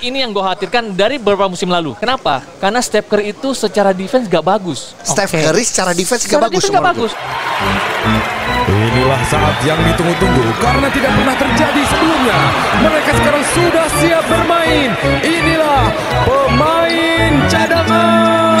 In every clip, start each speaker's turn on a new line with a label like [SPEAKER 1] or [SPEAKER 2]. [SPEAKER 1] ini yang gue khawatirkan dari beberapa musim lalu. Kenapa? Karena Step Curry itu secara defense gak bagus.
[SPEAKER 2] Steph
[SPEAKER 3] Oke.
[SPEAKER 2] Curry secara defense gak
[SPEAKER 1] Secara
[SPEAKER 2] bagus.
[SPEAKER 1] defense gak
[SPEAKER 2] menurut
[SPEAKER 1] bagus.
[SPEAKER 4] Inilah saat yang ditunggu-tunggu karena tidak pernah terjadi sebelumnya. Mereka sekarang sudah siap bermain. Inilah pemain cadangan.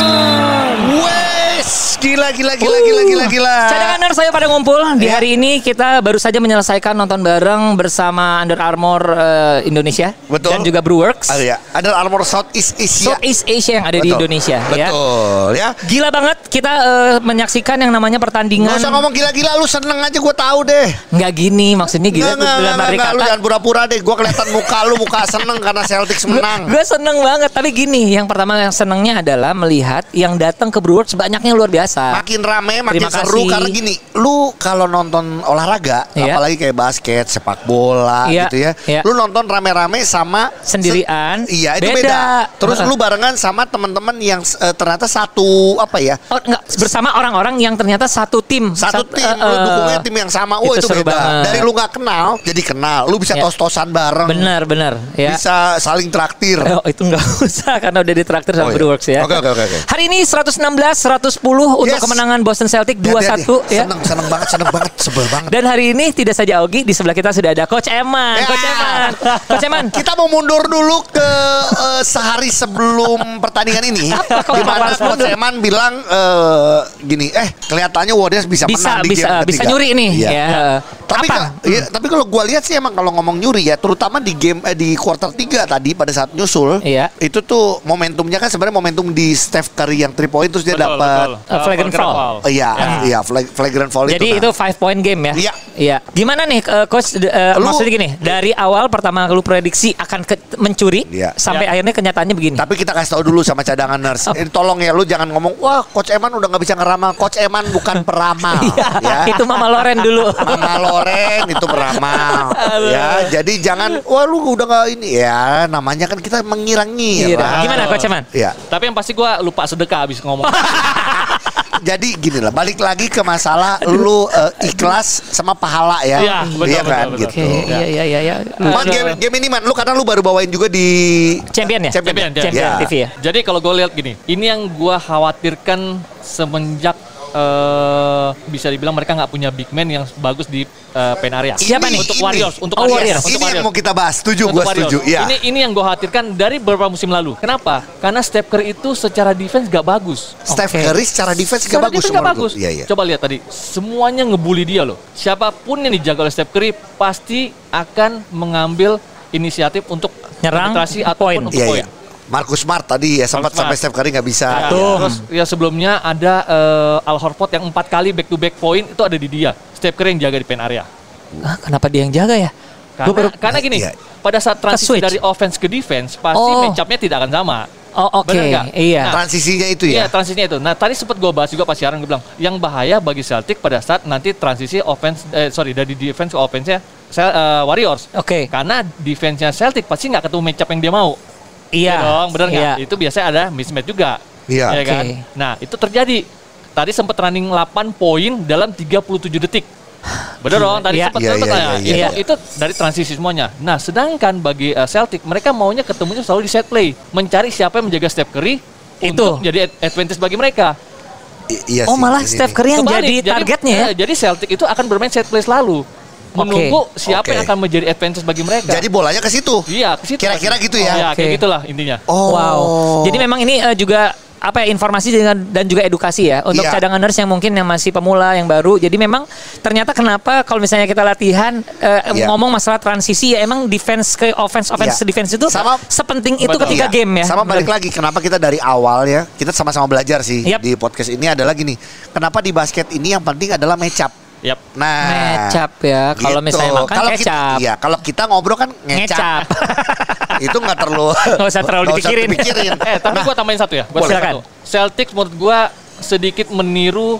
[SPEAKER 2] gue. Wes, gila gila gila
[SPEAKER 3] Uh,
[SPEAKER 2] gila gila gila.
[SPEAKER 3] Cadanganers saya pada ngumpul di hari ini kita baru saja menyelesaikan nonton bareng bersama Under Armour eh, Indonesia
[SPEAKER 2] Betul.
[SPEAKER 3] dan juga Brewworks.
[SPEAKER 2] Ah, ya. Under Armour Southeast Asia.
[SPEAKER 3] Southeast Asia yang ada di
[SPEAKER 2] Betul.
[SPEAKER 3] Indonesia ya.
[SPEAKER 2] Betul ya.
[SPEAKER 3] Gila banget kita eh, menyaksikan yang namanya pertandingan
[SPEAKER 2] Gak usah ngomong gila-gila lu seneng aja gue tahu deh.
[SPEAKER 3] nggak gini maksudnya gila
[SPEAKER 2] Gak
[SPEAKER 3] tuh dalam arti
[SPEAKER 2] lu
[SPEAKER 3] kata,
[SPEAKER 2] jangan pura-pura deh. Gue kelihatan muka lu muka seneng karena Celtics menang.
[SPEAKER 3] Gue seneng banget Tapi gini Yang pertama yang senengnya adalah Melihat yang datang ke Brewers Banyaknya luar biasa
[SPEAKER 2] Makin rame, makin
[SPEAKER 3] Iya. Terima
[SPEAKER 2] seru
[SPEAKER 3] kasih.
[SPEAKER 2] karena gini, lu kalau nonton olahraga,
[SPEAKER 3] Iya.
[SPEAKER 2] apalagi kayak basket, sepak bola
[SPEAKER 3] Iya,
[SPEAKER 2] gitu ya,
[SPEAKER 3] iya.
[SPEAKER 2] lu nonton rame-rame sama
[SPEAKER 3] Sendirian,
[SPEAKER 2] se- iya itu beda.
[SPEAKER 3] beda.
[SPEAKER 2] Terus
[SPEAKER 3] Heeh.
[SPEAKER 2] lu barengan sama teman-teman yang eh, ternyata satu apa ya,
[SPEAKER 3] Oh, enggak, Bersama orang-orang yang ternyata satu tim
[SPEAKER 2] satu
[SPEAKER 3] Sat-
[SPEAKER 2] tim
[SPEAKER 3] eh,
[SPEAKER 2] lu
[SPEAKER 3] eh,
[SPEAKER 2] dukungnya tim yang sama oh itu,
[SPEAKER 3] itu seru
[SPEAKER 2] beda
[SPEAKER 3] banget.
[SPEAKER 2] dari lu nggak kenal jadi kenal lu bisa
[SPEAKER 3] Ya.
[SPEAKER 2] tos-tosan bareng
[SPEAKER 3] Bener bener ya.
[SPEAKER 2] bisa saling traktir
[SPEAKER 3] Eh, Oh, itu nggak usah karena udah ditraktir sama
[SPEAKER 2] Oh, iya.
[SPEAKER 3] Brewworks ya.
[SPEAKER 2] Oke, oke, oke, oke.
[SPEAKER 3] Hari ini 116 110 untuk
[SPEAKER 2] Yes.
[SPEAKER 3] kemenangan Boston Celtic 2-1 ya.
[SPEAKER 2] seneng seneng banget seneng banget sebel banget
[SPEAKER 3] Dan hari ini tidak saja Augie di sebelah kita sudah ada Coach Eman.
[SPEAKER 2] Ya.
[SPEAKER 3] Coach Eman. Coach Eman.
[SPEAKER 2] kita mau mundur dulu ke eh, sehari sebelum pertandingan ini
[SPEAKER 3] kok
[SPEAKER 2] di mana
[SPEAKER 3] harus mundur?
[SPEAKER 2] Coach Eman bilang eh, gini eh kelihatannya Warriors bisa,
[SPEAKER 3] Bisa
[SPEAKER 2] menang di
[SPEAKER 3] bisa
[SPEAKER 2] game
[SPEAKER 3] bisa
[SPEAKER 2] ketiga."
[SPEAKER 3] nyuri nih
[SPEAKER 2] Iya.
[SPEAKER 3] ya.
[SPEAKER 2] Tapi
[SPEAKER 3] Apa?
[SPEAKER 2] ka- iya, tapi kalau gua lihat sih emang kalau ngomong nyuri ya, terutama di game eh, di quarter 3 tadi pada saat nyusul,
[SPEAKER 3] Iya.
[SPEAKER 2] itu tuh momentumnya kan sebenarnya momentum di Steph Curry yang 3 point terus dia
[SPEAKER 5] Betul,
[SPEAKER 2] dapat
[SPEAKER 5] betul. Eh,
[SPEAKER 3] Flagrant
[SPEAKER 5] Volker
[SPEAKER 3] foul.
[SPEAKER 2] Eh, iya iya flag- flagrant foul
[SPEAKER 3] Jadi
[SPEAKER 2] itu. kan.
[SPEAKER 3] itu five point game ya.
[SPEAKER 2] Iya.
[SPEAKER 3] Gimana nih eh, coach eh,
[SPEAKER 2] Lu-
[SPEAKER 3] maksudnya gini, dari awal pertama lu prediksi akan ke- mencuri
[SPEAKER 2] Iya.
[SPEAKER 3] sampai akhirnya kenyataannya begini.
[SPEAKER 2] Tapi kita kasih tahu dulu sama cadangan nurse. Ini tolong ya lu jangan ngomong wah coach Eman udah nggak bisa ngeramal. Coach Eman bukan peramal ya.
[SPEAKER 3] Iya, Itu Mama Loren dulu.
[SPEAKER 2] Mama Loren itu meramal ya jadi jangan wah lu udah nggak ini ya namanya kan kita mengira-ngira
[SPEAKER 3] Iya. Gimana Coach Eman?
[SPEAKER 2] ya
[SPEAKER 1] Tapi yang pasti gue lupa sedekah abis ngomong.
[SPEAKER 2] jadi gini lah balik lagi ke masalah lu eh, ikhlas sama pahala ya
[SPEAKER 5] Iya, betul,
[SPEAKER 2] Iya kan
[SPEAKER 5] betul, betul.
[SPEAKER 2] gitu
[SPEAKER 3] Iya iya iya iya.
[SPEAKER 2] Man, game, game ini man, lu karena lu baru bawain juga di
[SPEAKER 3] Champion ya?
[SPEAKER 2] Champion,
[SPEAKER 5] Champion,
[SPEAKER 3] Champion
[SPEAKER 2] Ya.
[SPEAKER 3] TV ya.
[SPEAKER 1] Jadi kalau gue lihat gini, ini yang gue khawatirkan semenjak eh, bisa dibilang mereka nggak punya big man yang bagus di eh, pen area.
[SPEAKER 3] Siapa nih?
[SPEAKER 1] Untuk Warriors, untuk
[SPEAKER 3] Oh, Warriors.
[SPEAKER 1] Warriors, untuk
[SPEAKER 2] ini yang
[SPEAKER 1] Warriors.
[SPEAKER 2] mau kita bahas. Setuju,
[SPEAKER 1] Untuk
[SPEAKER 2] gue
[SPEAKER 1] Warriors.
[SPEAKER 2] setuju. Ya.
[SPEAKER 1] Ini ini yang gue khawatirkan dari beberapa musim lalu. Kenapa? Karena Steph Curry itu secara defense gak bagus.
[SPEAKER 2] Steph
[SPEAKER 3] Oke.
[SPEAKER 2] Curry secara defense gak
[SPEAKER 1] Secara
[SPEAKER 2] bagus.
[SPEAKER 1] defense nggak
[SPEAKER 2] menurut
[SPEAKER 1] bagus.
[SPEAKER 2] gua. Iya, iya.
[SPEAKER 1] Coba lihat tadi, semuanya ngebully dia loh. Siapapun yang dijaga oleh Steph Curry pasti akan mengambil inisiatif untuk
[SPEAKER 3] Nyerang,
[SPEAKER 1] penetrasi
[SPEAKER 3] poin.
[SPEAKER 1] ataupun untuk
[SPEAKER 2] Iya,
[SPEAKER 1] poin.
[SPEAKER 2] iya. Marcus Smart tadi ya sempat
[SPEAKER 1] Marcus Smart.
[SPEAKER 2] sampai Steph Curry gak bisa. Iya.
[SPEAKER 1] Ya,
[SPEAKER 3] Tuh.
[SPEAKER 1] Terus ya sebelumnya ada eh, Al Horford yang empat kali back to back point itu ada di dia. Steph Curry yang jaga di pen area.
[SPEAKER 3] Hah, kenapa dia yang jaga ya?
[SPEAKER 1] Karena,
[SPEAKER 3] Gua baru-
[SPEAKER 1] karena gini,
[SPEAKER 2] Iya.
[SPEAKER 1] pada saat transisi
[SPEAKER 3] switch.
[SPEAKER 1] dari offense ke defense pasti
[SPEAKER 3] Oh.
[SPEAKER 1] match-up-nya tidak akan sama.
[SPEAKER 3] Oh oke,
[SPEAKER 1] Bener nggak?
[SPEAKER 3] iya.
[SPEAKER 1] Nah,
[SPEAKER 2] Transisinya itu ya.
[SPEAKER 1] Iya transisinya itu. Nah tadi sempat gue bahas juga pas siaran gue bilang yang bahaya bagi Celtic pada saat nanti transisi offense eh, sorry dari defense ke offense nya Warriors.
[SPEAKER 3] Oke.
[SPEAKER 1] Karena defense nya Celtic pasti nggak ketemu match up yang dia mau.
[SPEAKER 3] Iya.
[SPEAKER 1] dong, bener nggak?
[SPEAKER 3] Iya.
[SPEAKER 1] Itu biasanya ada mismatch juga.
[SPEAKER 2] Iya.
[SPEAKER 1] Ya kan?
[SPEAKER 3] Oke.
[SPEAKER 1] Nah, itu terjadi. Tadi sempat running 8 poin dalam 37 detik. Bener dong, tadi
[SPEAKER 3] Iya.
[SPEAKER 1] sempat
[SPEAKER 2] Iya,
[SPEAKER 1] sempat
[SPEAKER 2] iya,
[SPEAKER 1] lah. ya.
[SPEAKER 2] iya,
[SPEAKER 3] iya.
[SPEAKER 1] Itu, itu dari transisi semuanya. Nah, sedangkan bagi eh, Celtic mereka maunya ketemunya selalu di set play, mencari siapa yang menjaga Steph Curry
[SPEAKER 3] Itu.
[SPEAKER 1] untuk jadi ad- advantage bagi mereka.
[SPEAKER 2] I- iya
[SPEAKER 3] Oh
[SPEAKER 2] sih,
[SPEAKER 3] malah
[SPEAKER 2] ini
[SPEAKER 3] Steph
[SPEAKER 2] nih.
[SPEAKER 3] Curry yang
[SPEAKER 1] Kebalik,
[SPEAKER 3] jadi targetnya ya?
[SPEAKER 1] eh, Jadi Celtic itu akan bermain set play selalu. Menunggu siapa
[SPEAKER 2] Oke.
[SPEAKER 1] yang akan menjadi advantage bagi mereka.
[SPEAKER 2] Jadi bolanya ke situ.
[SPEAKER 1] iya, ke situ
[SPEAKER 2] Kira-kira
[SPEAKER 1] pasti.
[SPEAKER 2] gitu ya?
[SPEAKER 1] Iya, kayak
[SPEAKER 3] Oke.
[SPEAKER 1] gitulah intinya.
[SPEAKER 2] Oh.
[SPEAKER 3] Wow. Jadi memang ini eh, juga apa ya informasi dengan dan juga edukasi ya untuk
[SPEAKER 2] Iya.
[SPEAKER 3] cadangan nurse yang mungkin yang masih pemula yang baru. Jadi memang ternyata kenapa kalau misalnya kita latihan eh,
[SPEAKER 2] Iya.
[SPEAKER 3] ngomong masalah transisi ya emang defense ke offense offense
[SPEAKER 2] Iya.
[SPEAKER 3] ke defense itu
[SPEAKER 2] Sama-
[SPEAKER 3] sepenting itu
[SPEAKER 1] Betul.
[SPEAKER 3] ketika
[SPEAKER 2] Iya.
[SPEAKER 3] game ya.
[SPEAKER 2] Sama balik lagi kenapa kita dari awal ya, kita sama-sama belajar sih
[SPEAKER 3] Yap.
[SPEAKER 2] di podcast ini adalah gini. Kenapa di basket ini yang penting adalah match up.
[SPEAKER 1] Yap.
[SPEAKER 2] Nah,
[SPEAKER 3] Kecap ya kalau
[SPEAKER 2] gitu.
[SPEAKER 3] misalnya makan
[SPEAKER 2] Kalau kita-
[SPEAKER 3] kecap.
[SPEAKER 2] Iya, kalau kita ngobrol kan
[SPEAKER 3] Ngecap.
[SPEAKER 2] ngecap. itu nggak perlu
[SPEAKER 3] Nggak usah terlalu
[SPEAKER 2] nggak
[SPEAKER 3] dipikirin.
[SPEAKER 2] dipikirin.
[SPEAKER 1] Eh, tapi
[SPEAKER 2] Nah,
[SPEAKER 1] gua tambahin satu ya. Gua
[SPEAKER 3] Boleh.
[SPEAKER 1] silakan.
[SPEAKER 3] Silakan.
[SPEAKER 1] Celtic menurut gua sedikit meniru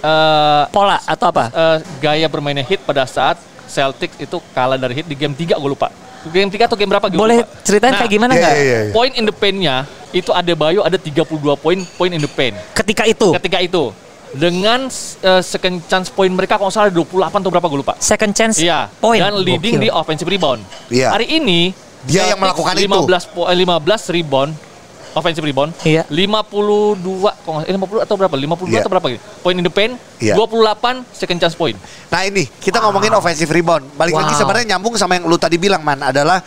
[SPEAKER 1] eh,
[SPEAKER 3] Pola atau apa?
[SPEAKER 1] eh, gaya bermainnya Heat pada saat Celtic itu kalah dari Heat di game 3 gue lupa. Game 3 atau game berapa gue
[SPEAKER 3] Boleh
[SPEAKER 1] lupa.
[SPEAKER 3] ceritain
[SPEAKER 1] Nah,
[SPEAKER 3] kayak gimana
[SPEAKER 2] iya,
[SPEAKER 3] nggak?
[SPEAKER 2] iya, iya.
[SPEAKER 1] Point in the paint-nya itu ada Bayo ada 32 poin point in the paint.
[SPEAKER 3] Ketika itu
[SPEAKER 1] Ketika itu dengan eh, second chance point mereka kalau nggak salah 28 atau berapa gue lupa.
[SPEAKER 3] second chance
[SPEAKER 1] Iya.
[SPEAKER 3] point
[SPEAKER 1] Dan leading di
[SPEAKER 3] Gokil.
[SPEAKER 1] offensive rebound.
[SPEAKER 2] Iya.
[SPEAKER 1] Hari ini
[SPEAKER 2] Dia yang melakukan itu.
[SPEAKER 1] 15 po- eh, 15 rebound offensive rebound.
[SPEAKER 3] Iya.
[SPEAKER 1] 52 kok nggak- eh, 50 atau berapa? 52
[SPEAKER 2] Iya.
[SPEAKER 1] atau berapa gitu. Point in the paint,
[SPEAKER 2] Iya.
[SPEAKER 1] 28 second chance point.
[SPEAKER 2] Nah ini kita ngomongin offensive rebound. Balik lagi
[SPEAKER 3] Wow.
[SPEAKER 2] sebenarnya nyambung sama yang lu tadi bilang man adalah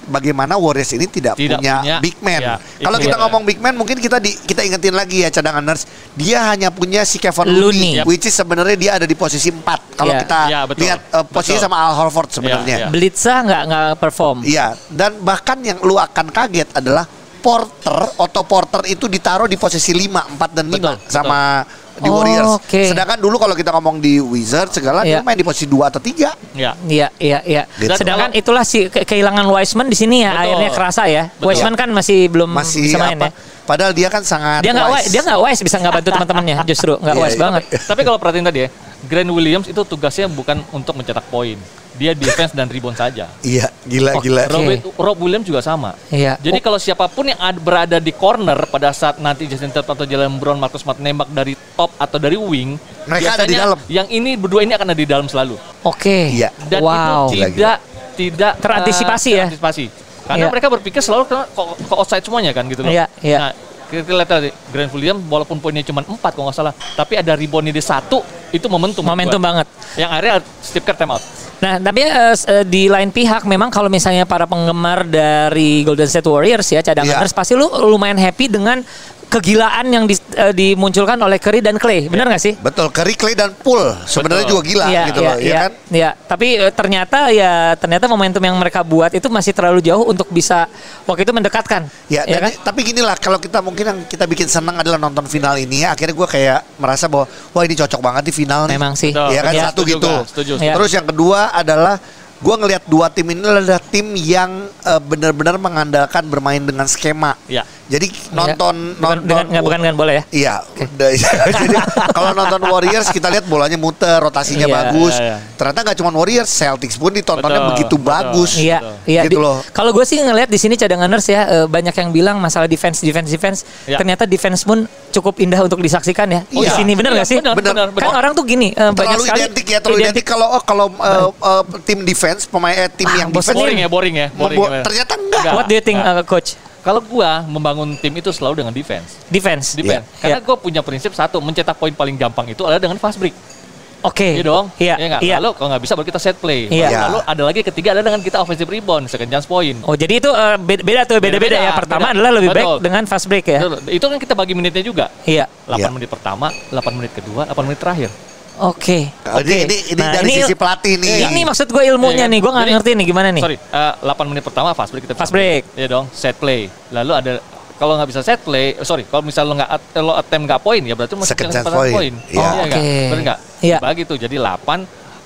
[SPEAKER 2] bagaimana Warriors ini tidak,
[SPEAKER 1] Tidak
[SPEAKER 2] punya,
[SPEAKER 1] punya,
[SPEAKER 2] big man.
[SPEAKER 1] ya,
[SPEAKER 2] Kalau
[SPEAKER 1] itu
[SPEAKER 2] kita
[SPEAKER 1] dia.
[SPEAKER 2] ngomong big man mungkin kita di, kita ingetin lagi ya cadangan nurse. Dia hanya punya si Kevin
[SPEAKER 3] Looney.
[SPEAKER 2] Looney, which is sebenarnya dia ada di posisi 4 kalau
[SPEAKER 3] Ya.
[SPEAKER 2] kita
[SPEAKER 1] Ya, betul.
[SPEAKER 2] lihat eh, posisinya
[SPEAKER 1] Betul.
[SPEAKER 2] sama Al Horford sebenarnya.
[SPEAKER 1] Ya.
[SPEAKER 3] Blitza nggak nggak perform.
[SPEAKER 2] Iya, dan bahkan yang lu akan kaget adalah Porter, Otto Porter itu ditaruh di posisi 5, 4 dan 5
[SPEAKER 1] Betul,
[SPEAKER 2] sama di
[SPEAKER 3] Oh,
[SPEAKER 2] Warriors.
[SPEAKER 3] oke.
[SPEAKER 2] Sedangkan dulu kalau kita ngomong di Wizards segala
[SPEAKER 3] Iya.
[SPEAKER 2] dia main di posisi 2 atau 3.
[SPEAKER 1] Ya.
[SPEAKER 3] Iya, iya, iya.
[SPEAKER 2] Gitu.
[SPEAKER 3] Sedangkan itulah si ke- kehilangan Wiseman di sini ya,
[SPEAKER 1] Betul.
[SPEAKER 3] akhirnya kerasa ya.
[SPEAKER 1] Betul.
[SPEAKER 3] Wiseman kan masih belum
[SPEAKER 2] Masih
[SPEAKER 3] bisa main ya.
[SPEAKER 2] apa? Padahal dia kan sangat
[SPEAKER 3] Dia nggak
[SPEAKER 2] wise.
[SPEAKER 3] wise, dia nggak wise bisa nggak bantu teman-temannya, justru nggak
[SPEAKER 2] Iya,
[SPEAKER 3] wise
[SPEAKER 2] iya.
[SPEAKER 3] banget.
[SPEAKER 1] Tapi kalau perhatiin tadi ya, Grant Williams itu tugasnya bukan untuk mencetak poin. Dia defense dan rebound saja.
[SPEAKER 2] Iya, gila
[SPEAKER 3] Oh.
[SPEAKER 2] gila.
[SPEAKER 1] Rob, Rob Williams juga sama.
[SPEAKER 3] Iya.
[SPEAKER 1] Jadi kalau siapapun yang ad- berada di corner pada saat nanti Jason Tatum atau Jalen Brown, Marcus Smart nembak dari top atau dari wing,
[SPEAKER 2] Mereka ada di
[SPEAKER 1] biasanya
[SPEAKER 2] dalam.
[SPEAKER 1] Yang ini berdua ini akan ada di dalam selalu.
[SPEAKER 3] Oke.
[SPEAKER 2] Iya.
[SPEAKER 1] Dan
[SPEAKER 3] wow.
[SPEAKER 1] itu
[SPEAKER 2] Gila,
[SPEAKER 1] tidak tidak eh,
[SPEAKER 3] Terantisipasi ya?
[SPEAKER 1] terantisipasi. Karena
[SPEAKER 3] Iya.
[SPEAKER 1] mereka berpikir selalu ke, ke- ke outside semuanya kan gitu loh.
[SPEAKER 3] Iya, iya.
[SPEAKER 1] Nah, kita kita lihat tadi Grant Williams walaupun poinnya cuma 4 kalau nggak salah, tapi ada reboundnya di satu itu momentum.
[SPEAKER 3] Momentum
[SPEAKER 1] buat.
[SPEAKER 3] banget.
[SPEAKER 1] Yang akhirnya Steve Kerr time out.
[SPEAKER 3] Nah, tapi eh, s- eh, di lain pihak memang kalau misalnya para penggemar dari Golden State Warriors ya cadangan
[SPEAKER 2] Iya.
[SPEAKER 3] Warriors, pasti lu lumayan happy dengan kegilaan yang dis- eh, dimunculkan oleh Curry dan Clay.
[SPEAKER 2] Iya.
[SPEAKER 3] Benar nggak sih?
[SPEAKER 2] Betul, Curry Clay dan Poole sebenarnya
[SPEAKER 1] Betul.
[SPEAKER 2] juga gila
[SPEAKER 3] Iya,
[SPEAKER 2] gitu
[SPEAKER 3] iya,
[SPEAKER 2] loh, ya
[SPEAKER 3] iya,
[SPEAKER 2] kan?
[SPEAKER 3] Iya, tapi eh, ternyata ya ternyata momentum yang mereka buat itu masih terlalu jauh untuk bisa waktu itu mendekatkan.
[SPEAKER 2] Ya, dan-
[SPEAKER 3] kan?
[SPEAKER 2] tapi gini lah kalau kita mungkin yang kita bikin senang adalah nonton final ini ya. Akhirnya gue kayak merasa bahwa wah ini cocok banget di final nih.
[SPEAKER 3] Memang sih.
[SPEAKER 1] Betul.
[SPEAKER 2] Iya kan
[SPEAKER 1] Iya,
[SPEAKER 2] satu
[SPEAKER 1] setuju
[SPEAKER 2] gitu.
[SPEAKER 1] gua, setuju,
[SPEAKER 3] setuju.
[SPEAKER 2] Terus yang kedua adalah gue ngelihat dua tim ini adalah tim yang eh, benar-benar mengandalkan bermain dengan skema.
[SPEAKER 1] Iya.
[SPEAKER 2] Jadi nonton
[SPEAKER 3] Bukan-
[SPEAKER 2] nonton
[SPEAKER 3] dengan, nggak- bukan dengan bola ya.
[SPEAKER 2] Iya, udah. jadi kalau nonton Warriors kita lihat bolanya muter, rotasinya
[SPEAKER 3] Iya,
[SPEAKER 2] bagus.
[SPEAKER 1] iya, iya.
[SPEAKER 2] Ternyata nggak cuma Warriors, Celtics pun ditontonnya
[SPEAKER 1] Betul,
[SPEAKER 2] begitu
[SPEAKER 1] betul.
[SPEAKER 2] bagus.
[SPEAKER 3] Iya, iya. Di-
[SPEAKER 2] Gitu loh.
[SPEAKER 3] Kalau gue sih ngelihat di sini cadanganers ya eh, banyak yang bilang masalah defense, defense, defense.
[SPEAKER 1] Iya.
[SPEAKER 3] Ternyata defense pun cukup indah untuk disaksikan ya. Oh,
[SPEAKER 2] Iya.
[SPEAKER 3] di sini benar
[SPEAKER 1] Iya,
[SPEAKER 3] nggak sih?
[SPEAKER 1] benar, benar,
[SPEAKER 3] Kan
[SPEAKER 1] benar.
[SPEAKER 3] orang tuh gini eh, banyak
[SPEAKER 2] terlalu
[SPEAKER 3] sekali
[SPEAKER 2] identik ya, terlalu identik, kalau oh, kalau eh, eh, tim defense pemain eh, tim yang defense
[SPEAKER 1] Boring ya, boring ya, boring.
[SPEAKER 2] membuat-
[SPEAKER 1] ya.
[SPEAKER 2] ternyata enggak.
[SPEAKER 1] Enggak.
[SPEAKER 3] What do you think eh,
[SPEAKER 1] Nah.
[SPEAKER 3] coach?
[SPEAKER 1] Kalau gua membangun tim itu selalu dengan defense.
[SPEAKER 3] Defense.
[SPEAKER 1] Defense.
[SPEAKER 2] Iya.
[SPEAKER 1] Karena gua punya prinsip satu, mencetak poin paling gampang itu adalah dengan fast break.
[SPEAKER 3] Oke.
[SPEAKER 1] Iya dong.
[SPEAKER 3] Iya.
[SPEAKER 1] nggak?
[SPEAKER 3] Iya.
[SPEAKER 1] Lalu kalau nggak bisa baru kita set play.
[SPEAKER 3] Iya.
[SPEAKER 1] Baru- Lalu ada lagi ketiga adalah dengan kita offensive rebound, second chance point.
[SPEAKER 3] Oh jadi itu eh, beda, beda tuh beda-beda
[SPEAKER 1] Beda-beda,
[SPEAKER 3] ya. Pertama
[SPEAKER 1] beda.
[SPEAKER 3] adalah lebih baik
[SPEAKER 1] Betul.
[SPEAKER 3] dengan fast break ya.
[SPEAKER 1] Betul. Itu kan kita bagi menitnya juga.
[SPEAKER 3] Iya.
[SPEAKER 1] 8
[SPEAKER 2] Iya.
[SPEAKER 1] menit pertama, 8 menit kedua, 8 menit terakhir.
[SPEAKER 3] Oke.
[SPEAKER 2] Nah, ini- ini- ini dari sisi pelatih nih.
[SPEAKER 3] Ini maksud gue ilmunya
[SPEAKER 1] Iya kan?
[SPEAKER 3] nih, gue nggak
[SPEAKER 1] Jadi-
[SPEAKER 3] ngerti nih gimana nih.
[SPEAKER 1] Sorry, eh, 8 menit pertama fast break kita bisa
[SPEAKER 3] Fast break.
[SPEAKER 1] Iya dong, set play. Lalu ada kalau nggak bisa set play, eh, sorry, kalau misal lo nggak at- lo attempt nggak poin ya berarti masih
[SPEAKER 2] Second
[SPEAKER 1] kena
[SPEAKER 2] chance
[SPEAKER 1] kesempatan
[SPEAKER 2] point. Iya.
[SPEAKER 1] Iya nggak?
[SPEAKER 3] Oke.
[SPEAKER 1] Bener nggak?
[SPEAKER 3] Iya.
[SPEAKER 1] Bagi tuh jadi 8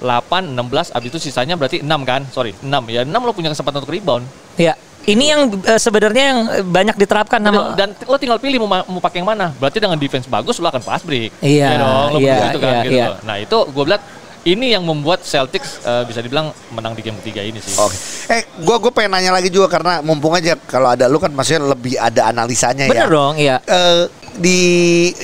[SPEAKER 1] 8 16 abis itu sisanya berarti 6 kan? Sorry, 6. Ya 6 lo punya kesempatan untuk rebound.
[SPEAKER 3] Ya. Ini yang eh, sebenarnya yang eh, banyak diterapkan sama
[SPEAKER 1] dan lo tinggal pilih mau, ma- mau pakai yang mana. Berarti dengan defense bagus lo akan fast break.
[SPEAKER 3] Iya,
[SPEAKER 1] Ya dong, lo
[SPEAKER 3] iya,
[SPEAKER 1] begitu kan
[SPEAKER 3] iya,
[SPEAKER 1] gitu.
[SPEAKER 3] iya.
[SPEAKER 1] Nah, itu gue bilang ini yang membuat Celtics eh, bisa dibilang menang di game ketiga ini sih.
[SPEAKER 2] Oke. Eh, gua gua pengen nanya lagi juga karena mumpung aja kalau ada lu kan maksudnya lebih ada analisanya
[SPEAKER 3] Bener
[SPEAKER 2] ya.
[SPEAKER 3] dong, iya.
[SPEAKER 2] Eh, di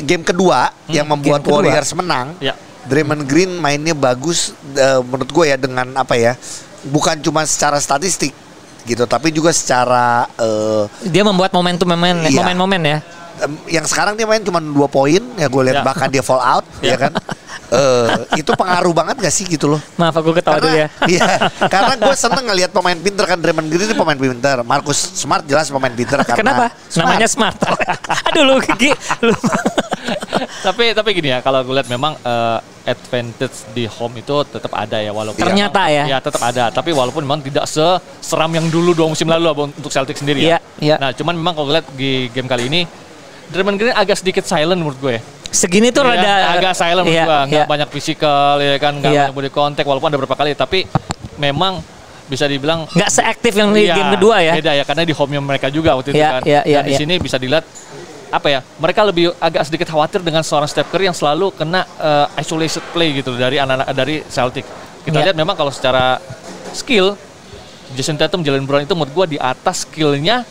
[SPEAKER 2] game kedua yang membuat
[SPEAKER 3] game kedua.
[SPEAKER 2] Warriors menang,
[SPEAKER 1] Ya.
[SPEAKER 2] Draymond Green mainnya bagus eh, menurut gue ya dengan apa ya? Bukan cuma secara statistik gitu, tapi juga secara eh,
[SPEAKER 3] dia membuat momentum momen
[SPEAKER 2] Iya.
[SPEAKER 3] momen-momen ya.
[SPEAKER 2] Em, yang sekarang dia main cuma dua poin ya gue lihat
[SPEAKER 1] Ya.
[SPEAKER 2] bahkan dia fall out ya kan Eh, itu pengaruh banget gak sih gitu loh
[SPEAKER 3] Maaf aku ketawa dulu ya.
[SPEAKER 2] karena iya, karena gue seneng ngelihat pemain pinter kan Draymond Green ini pemain pinter Marcus Smart jelas pemain pinter karena
[SPEAKER 3] Kenapa?
[SPEAKER 2] Smart.
[SPEAKER 3] Namanya smart. Aduh lu gigi lu.
[SPEAKER 1] tapi tapi gini ya kalau gue lihat memang eh, advantage di home itu tetap ada ya walaupun
[SPEAKER 3] Ternyata
[SPEAKER 1] memang-
[SPEAKER 3] ya.
[SPEAKER 1] ya tetap ada tapi walaupun memang tidak seseram yang dulu dua musim lalu abang, untuk Celtic sendiri ya
[SPEAKER 3] Iya, iya.
[SPEAKER 1] nah cuman memang kalau gue lihat di game kali ini Draymond Green agak sedikit silent menurut gue
[SPEAKER 3] Segini tuh
[SPEAKER 1] Iya,
[SPEAKER 3] rada
[SPEAKER 1] agak silent
[SPEAKER 3] Iya,
[SPEAKER 1] menurut gua, nggak
[SPEAKER 3] iya.
[SPEAKER 1] banyak fisikal ya kan nggak
[SPEAKER 3] Iya.
[SPEAKER 1] banyak body contact walaupun ada beberapa kali tapi memang bisa dibilang
[SPEAKER 3] Nggak seaktif yang di
[SPEAKER 1] Iya,
[SPEAKER 3] game kedua ya.
[SPEAKER 1] Beda ya karena di home mereka juga waktu itu
[SPEAKER 3] Iya,
[SPEAKER 1] kan.
[SPEAKER 3] iya, iya,
[SPEAKER 1] Dan di
[SPEAKER 3] iya.
[SPEAKER 1] sini bisa dilihat apa ya? Mereka lebih agak sedikit khawatir dengan seorang Steph Curry yang selalu kena eh, isolated play gitu dari anak-anak dari Celtic. Kita
[SPEAKER 3] Iya.
[SPEAKER 1] lihat memang kalau secara skill Jason Tatum, Jalen Brown itu menurut gua di atas skillnya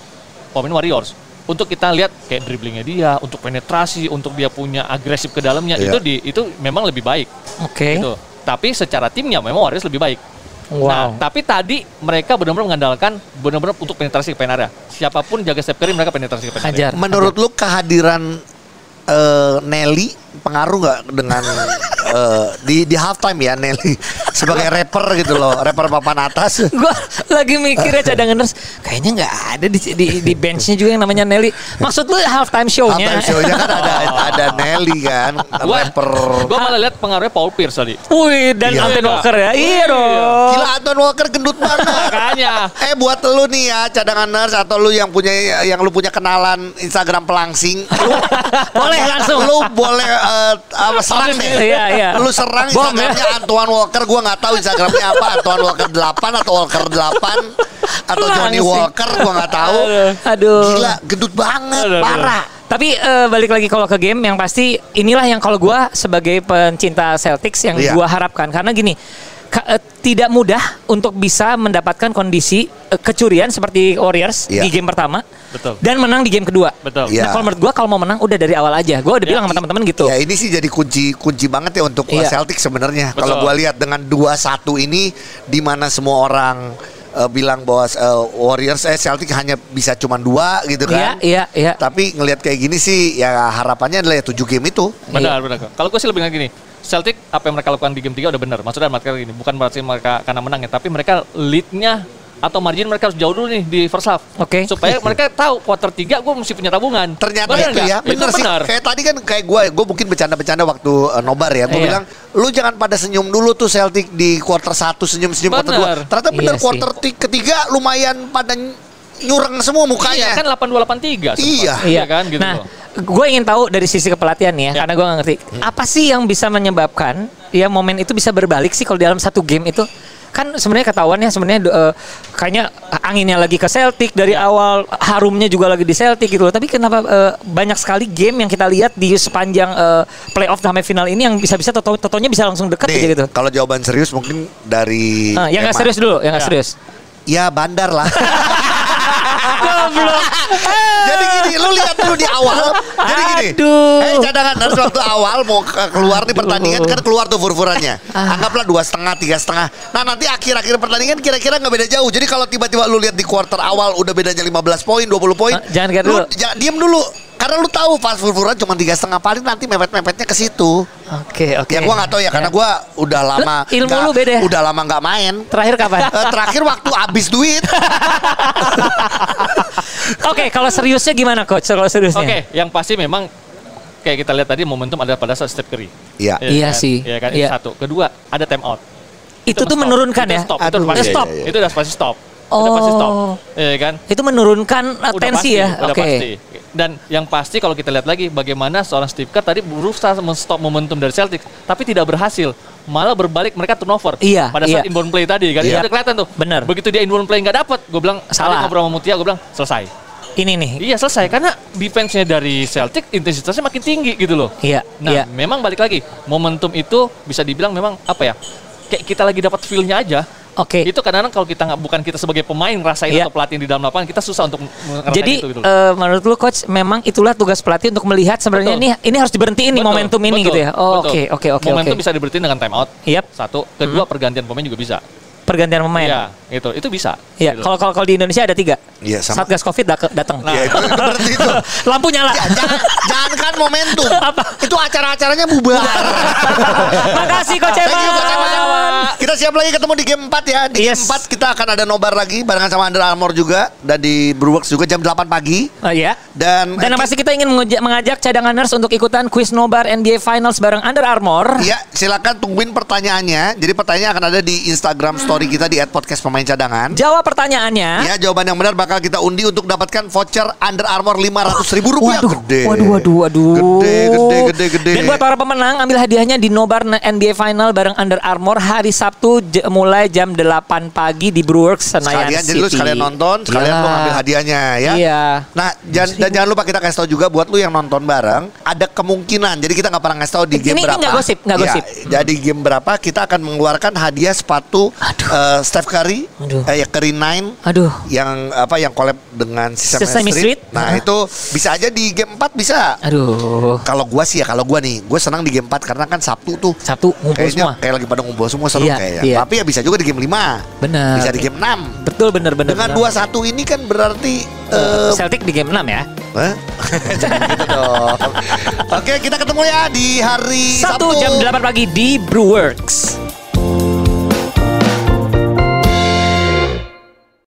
[SPEAKER 1] pemain Warriors. Untuk kita lihat kayak dribblingnya dia, untuk penetrasi, untuk dia punya agresif ke dalamnya
[SPEAKER 2] Iya.
[SPEAKER 1] itu di itu memang lebih baik
[SPEAKER 3] Oke.
[SPEAKER 1] gitu. Tapi secara timnya memang Warriors lebih baik. Nah, tapi tadi mereka benar-benar mengandalkan benar-benar untuk penetrasi ke pen area. Siapapun jaga step kiri mereka penetrasi ke pen area.
[SPEAKER 3] Hajar.
[SPEAKER 2] Menurut lu kehadiran eh, Nelly pengaruh nggak dengan eh, di di halftime ya Nelly sebagai rapper gitu loh, rapper papan atas.
[SPEAKER 3] Gue lagi mikir ya cadangan nurse Kayaknya nggak ada di, di, di benchnya juga yang namanya Nelly Maksud lu halftime show-nya
[SPEAKER 2] Halftime show-nya kan ada ada Nelly kan,
[SPEAKER 1] Gua,
[SPEAKER 2] rapper.
[SPEAKER 1] gua malah lihat pengaruhnya Paul Pierce tadi.
[SPEAKER 3] Wih dan
[SPEAKER 2] Iya.
[SPEAKER 3] Anton Walker ya Iya dong
[SPEAKER 2] Gila Anton Walker gendut banget.
[SPEAKER 1] Makanya
[SPEAKER 2] Eh buat lu nih ya cadangan nurse atau lu yang punya yang lu punya kenalan Instagram pelangsing, lu,
[SPEAKER 3] Boleh langsung
[SPEAKER 2] lu boleh eh, apa serang deh.
[SPEAKER 3] Iya, iya.
[SPEAKER 2] Lu serang
[SPEAKER 3] Bom, ya.
[SPEAKER 2] Instagramnya Antoine Walker, gua nggak tahu Instagramnya apa, Antoine Walker 8 atau Walker 8 atau Johnny
[SPEAKER 3] Langsing.
[SPEAKER 2] Walker, gua nggak tahu.
[SPEAKER 3] Aduh.
[SPEAKER 2] Gila, gendut banget,
[SPEAKER 1] Aduh, aduh.
[SPEAKER 2] parah.
[SPEAKER 3] Tapi eh, balik lagi kalau ke game yang pasti inilah yang kalau gua sebagai pencinta Celtics yang
[SPEAKER 2] Iya.
[SPEAKER 3] gua harapkan karena gini ka- eh, tidak mudah untuk bisa mendapatkan kondisi eh, kecurian seperti Warriors
[SPEAKER 2] Iya.
[SPEAKER 3] di game pertama
[SPEAKER 1] Betul.
[SPEAKER 3] dan menang di game kedua.
[SPEAKER 1] Betul. Iya.
[SPEAKER 2] Iya.
[SPEAKER 3] Nah, kalau menurut gua kalau mau menang udah dari awal aja. Gua udah bilang sama teman-teman gitu.
[SPEAKER 2] Ya ini sih jadi kunci kunci banget ya untuk
[SPEAKER 3] Iya.
[SPEAKER 2] Celtics sebenarnya.
[SPEAKER 1] Betul.
[SPEAKER 2] Kalau gua lihat dengan 2-1 ini di mana semua orang eh, bilang bahwa eh, Warriors eh Celtics hanya bisa cuma dua gitu
[SPEAKER 3] Iya,
[SPEAKER 2] kan.
[SPEAKER 3] iya, iya.
[SPEAKER 2] Tapi ngelihat kayak gini sih ya harapannya adalah ya 7 game itu.
[SPEAKER 1] Benar, benar. Kalau gue sih lebih bilang gini, Celtic apa yang mereka lakukan di game 3 udah benar. Maksudnya mereka ini bukan berarti mereka karena menang ya, tapi mereka lead-nya atau margin mereka harus jauh dulu nih di first half.
[SPEAKER 3] Oke.
[SPEAKER 1] Supaya mereka tahu quarter 3 gue mesti punya tabungan.
[SPEAKER 2] Ternyata
[SPEAKER 1] Benar
[SPEAKER 2] itu
[SPEAKER 1] nggak?
[SPEAKER 2] ya bener
[SPEAKER 1] itu
[SPEAKER 2] sih.
[SPEAKER 1] benar.
[SPEAKER 2] Kayak tadi kan kayak gue gue mungkin bercanda-bercanda waktu eh, nobar ya. Gue
[SPEAKER 3] Iya.
[SPEAKER 2] bilang lu jangan pada senyum dulu tuh Celtic di quarter 1 senyum-senyum quarter
[SPEAKER 1] Bener.
[SPEAKER 2] 2. Ternyata bener
[SPEAKER 3] Iya
[SPEAKER 2] quarter ti- ketiga lumayan pada ny- nyureng semua
[SPEAKER 1] Iya
[SPEAKER 2] mukanya.
[SPEAKER 1] kan 8283 sempat.
[SPEAKER 2] Iya.
[SPEAKER 1] Iya kan gitu
[SPEAKER 3] nah,
[SPEAKER 1] loh.
[SPEAKER 3] gue ingin tahu dari sisi kepelatihan ya,
[SPEAKER 1] Ya.
[SPEAKER 3] karena gue nggak ngerti apa sih yang bisa menyebabkan ya momen itu bisa berbalik sih kalau dalam satu game itu kan sebenarnya ketahuan ya sebenarnya eh, kayaknya anginnya lagi ke Celtic dari awal harumnya juga lagi di Celtic gitu loh tapi kenapa eh, banyak sekali game yang kita lihat di sepanjang eh, playoff sampai final ini yang bisa-bisa toto- totonya bisa langsung dekat aja
[SPEAKER 2] Nih,
[SPEAKER 3] gitu
[SPEAKER 2] kalau jawaban serius mungkin dari
[SPEAKER 3] Ah, yang nggak
[SPEAKER 2] Emma.
[SPEAKER 3] serius dulu yang nggak
[SPEAKER 1] Ya.
[SPEAKER 3] serius
[SPEAKER 2] Ya bandar lah.
[SPEAKER 3] Goblok.
[SPEAKER 2] Jadi gini, lu lihat dulu di awal. Jadi gini.
[SPEAKER 3] Aduh.
[SPEAKER 2] Eh cadangan harus waktu awal mau ke- keluar nih pertandingan kan keluar tuh furfurannya.
[SPEAKER 3] Ah.
[SPEAKER 2] Anggaplah dua setengah, tiga setengah. Nah nanti akhir-akhir pertandingan kira-kira nggak beda jauh. Jadi kalau tiba-tiba lu lihat di quarter awal udah bedanya 15 poin, 20 poin.
[SPEAKER 3] Ah, jangan kayak
[SPEAKER 2] lu
[SPEAKER 3] dulu.
[SPEAKER 2] ja- diem dulu. Karena lu tahu pas furfuran cuma tiga setengah paling nanti mepet-mepetnya ke situ.
[SPEAKER 3] oke oke
[SPEAKER 2] Ya gua nggak tahu ya karena gua udah lama
[SPEAKER 3] Ilmu
[SPEAKER 2] nggak-
[SPEAKER 3] lu beda ya?
[SPEAKER 2] udah lama nggak main.
[SPEAKER 3] terakhir kapan
[SPEAKER 2] Eh, terakhir waktu habis duit.
[SPEAKER 3] Oke, kalau seriusnya gimana coach? Kalau seriusnya?
[SPEAKER 1] Oke, yang pasti memang kayak kita lihat tadi momentum ada pada saat step Curry.
[SPEAKER 2] Iya.
[SPEAKER 3] Iya
[SPEAKER 1] kan?
[SPEAKER 3] sih.
[SPEAKER 1] Iya kan?
[SPEAKER 3] Iya.
[SPEAKER 1] Itu satu. Kedua, ada time out.
[SPEAKER 3] Itu tuh
[SPEAKER 1] stop.
[SPEAKER 3] menurunkan
[SPEAKER 1] Itu
[SPEAKER 3] ya.
[SPEAKER 1] Stop. Itu
[SPEAKER 2] Aduh,
[SPEAKER 1] udah pasti
[SPEAKER 2] iya,
[SPEAKER 1] stop.
[SPEAKER 2] iya, iya.
[SPEAKER 1] Itu udah pasti stop. Itu
[SPEAKER 3] Oh.
[SPEAKER 1] pasti stop. Iya kan?
[SPEAKER 3] Itu menurunkan eh,
[SPEAKER 1] Udah
[SPEAKER 3] tensi
[SPEAKER 1] pasti,
[SPEAKER 3] ya.
[SPEAKER 1] udah
[SPEAKER 3] Oke.
[SPEAKER 1] pasti. Dan yang pasti kalau kita lihat lagi bagaimana seorang Steve Kerr tadi berusaha men-stop momentum dari Celtics tapi tidak berhasil. Malah berbalik mereka turnover.
[SPEAKER 3] Iya,
[SPEAKER 1] Pada
[SPEAKER 3] iya.
[SPEAKER 1] saat inbound play tadi kan.
[SPEAKER 3] Iya.
[SPEAKER 1] Itu Udah kelihatan tuh.
[SPEAKER 3] Bener.
[SPEAKER 1] Begitu dia inbound play nggak dapat, gue bilang
[SPEAKER 3] Salah.
[SPEAKER 1] salah. ngobrol sama Mutia, gue bilang selesai.
[SPEAKER 3] Ini nih.
[SPEAKER 1] Iya selesai karena defense-nya dari Celtic intensitasnya makin tinggi gitu loh.
[SPEAKER 3] Iya,
[SPEAKER 1] Nah,
[SPEAKER 3] iya.
[SPEAKER 1] memang balik lagi momentum itu bisa dibilang memang apa ya? Kayak kita lagi dapat feel-nya aja.
[SPEAKER 3] Oke.
[SPEAKER 1] Itu kadang-kadang kalau kita nggak bukan kita sebagai pemain ngerasain
[SPEAKER 3] Iya.
[SPEAKER 1] atau pelatih di dalam lapangan kita susah untuk ngerasain
[SPEAKER 3] Jadi
[SPEAKER 1] itu gitu. loh.
[SPEAKER 3] eh, menurut lu coach memang itulah tugas pelatih untuk melihat sebenarnya
[SPEAKER 1] Betul.
[SPEAKER 3] ini ini harus diberhentiin nih
[SPEAKER 1] Betul,
[SPEAKER 3] momentum ini
[SPEAKER 1] betul,
[SPEAKER 3] gitu ya. Oh,
[SPEAKER 1] betul.
[SPEAKER 3] Oke, oke, oke, oke.
[SPEAKER 1] Momentum
[SPEAKER 3] Iya. Hmm.
[SPEAKER 1] bisa diberhentiin dengan time out.
[SPEAKER 3] Yap.
[SPEAKER 1] Satu, kedua pergantian pemain juga bisa.
[SPEAKER 3] Pergantian pemain.
[SPEAKER 1] Iya, gitu. Itu bisa.
[SPEAKER 3] Iya.
[SPEAKER 1] gitu. Nah.
[SPEAKER 3] Kalau kalau kalau di Indonesia ada tiga.
[SPEAKER 2] Iya, sama.
[SPEAKER 3] Satgas Covid dak- datang.
[SPEAKER 2] Ya itu, itu berarti itu.
[SPEAKER 3] Lampu nyala.
[SPEAKER 2] Ya, jangan, jangan kan momentum.
[SPEAKER 3] Apa?
[SPEAKER 2] Itu acara-acaranya bubar.
[SPEAKER 3] Makasih coach
[SPEAKER 2] Thank you, Coach Eman.
[SPEAKER 3] Eman.
[SPEAKER 2] Kita siap lagi ketemu di game 4 ya. Di
[SPEAKER 3] Yes.
[SPEAKER 2] game 4 kita akan ada nobar lagi barengan sama Under Armour juga dan di Brewworks juga jam 8 pagi.
[SPEAKER 3] Oh, iya.
[SPEAKER 2] Dan, eh,
[SPEAKER 3] Dan yang pasti kita ingin menguja- mengajak cadanganers untuk ikutan quiz nobar NBA Finals bareng Under Armour.
[SPEAKER 2] Ya, silakan tungguin pertanyaannya. Jadi pertanyaan akan ada di Instagram story kita di @podcast pemain cadangan.
[SPEAKER 3] Jawab pertanyaannya.
[SPEAKER 2] Ya, jawaban yang benar bakal kita undi untuk dapatkan voucher Under Armour 500 ribu rupiah.
[SPEAKER 3] Waduh,
[SPEAKER 2] gede.
[SPEAKER 3] waduh, waduh, waduh.
[SPEAKER 2] Gede, gede, gede, gede.
[SPEAKER 3] Dan buat para pemenang, ambil hadiahnya di Nobar NBA Final bareng Under Armour hari Sabtu j- mulai jam 8 pagi di Brewworks Senayan
[SPEAKER 2] sekalian jadi
[SPEAKER 3] City.
[SPEAKER 2] lu sekalian nonton sekalian
[SPEAKER 3] Iya.
[SPEAKER 2] lu ngambil hadiahnya ya
[SPEAKER 3] Iya.
[SPEAKER 2] nah jangan dan jangan lupa kita kasih tahu juga buat lu yang nonton bareng ada kemungkinan jadi kita nggak pernah ngasih tahu di
[SPEAKER 3] Ini-
[SPEAKER 2] game
[SPEAKER 3] ini
[SPEAKER 2] berapa
[SPEAKER 3] nggak gosip, nggak
[SPEAKER 2] Iya,
[SPEAKER 3] gosip.
[SPEAKER 2] jadi game berapa kita akan mengeluarkan hadiah sepatu eh, Steph Curry
[SPEAKER 3] Aduh.
[SPEAKER 2] eh, ya Kerinain
[SPEAKER 3] Aduh.
[SPEAKER 2] yang apa yang collab dengan Sesame,
[SPEAKER 3] Sesame Street.
[SPEAKER 2] Street. Nah,
[SPEAKER 3] Ah.
[SPEAKER 2] itu bisa aja di game 4 bisa.
[SPEAKER 3] Aduh.
[SPEAKER 2] Kalau gua sih ya, kalau gua nih, gua senang di game 4 karena kan Sabtu tuh
[SPEAKER 3] Sabtu ngumpul
[SPEAKER 2] kayaknya
[SPEAKER 3] semua.
[SPEAKER 2] kayak lagi pada ngumpul semua seru
[SPEAKER 3] Iya,
[SPEAKER 2] kayaknya.
[SPEAKER 3] iya.
[SPEAKER 2] Tapi ya bisa juga di game 5.
[SPEAKER 3] Bener.
[SPEAKER 2] Bisa di game 6.
[SPEAKER 3] Betul bener-bener.
[SPEAKER 2] Dengan 2-1 ini kan berarti eh,
[SPEAKER 3] Celtic di game 6 ya.
[SPEAKER 2] Hah? Jangan gitu dong. Oke, kita ketemu ya di hari
[SPEAKER 3] Sabtu jam 8 pagi di Brewworks.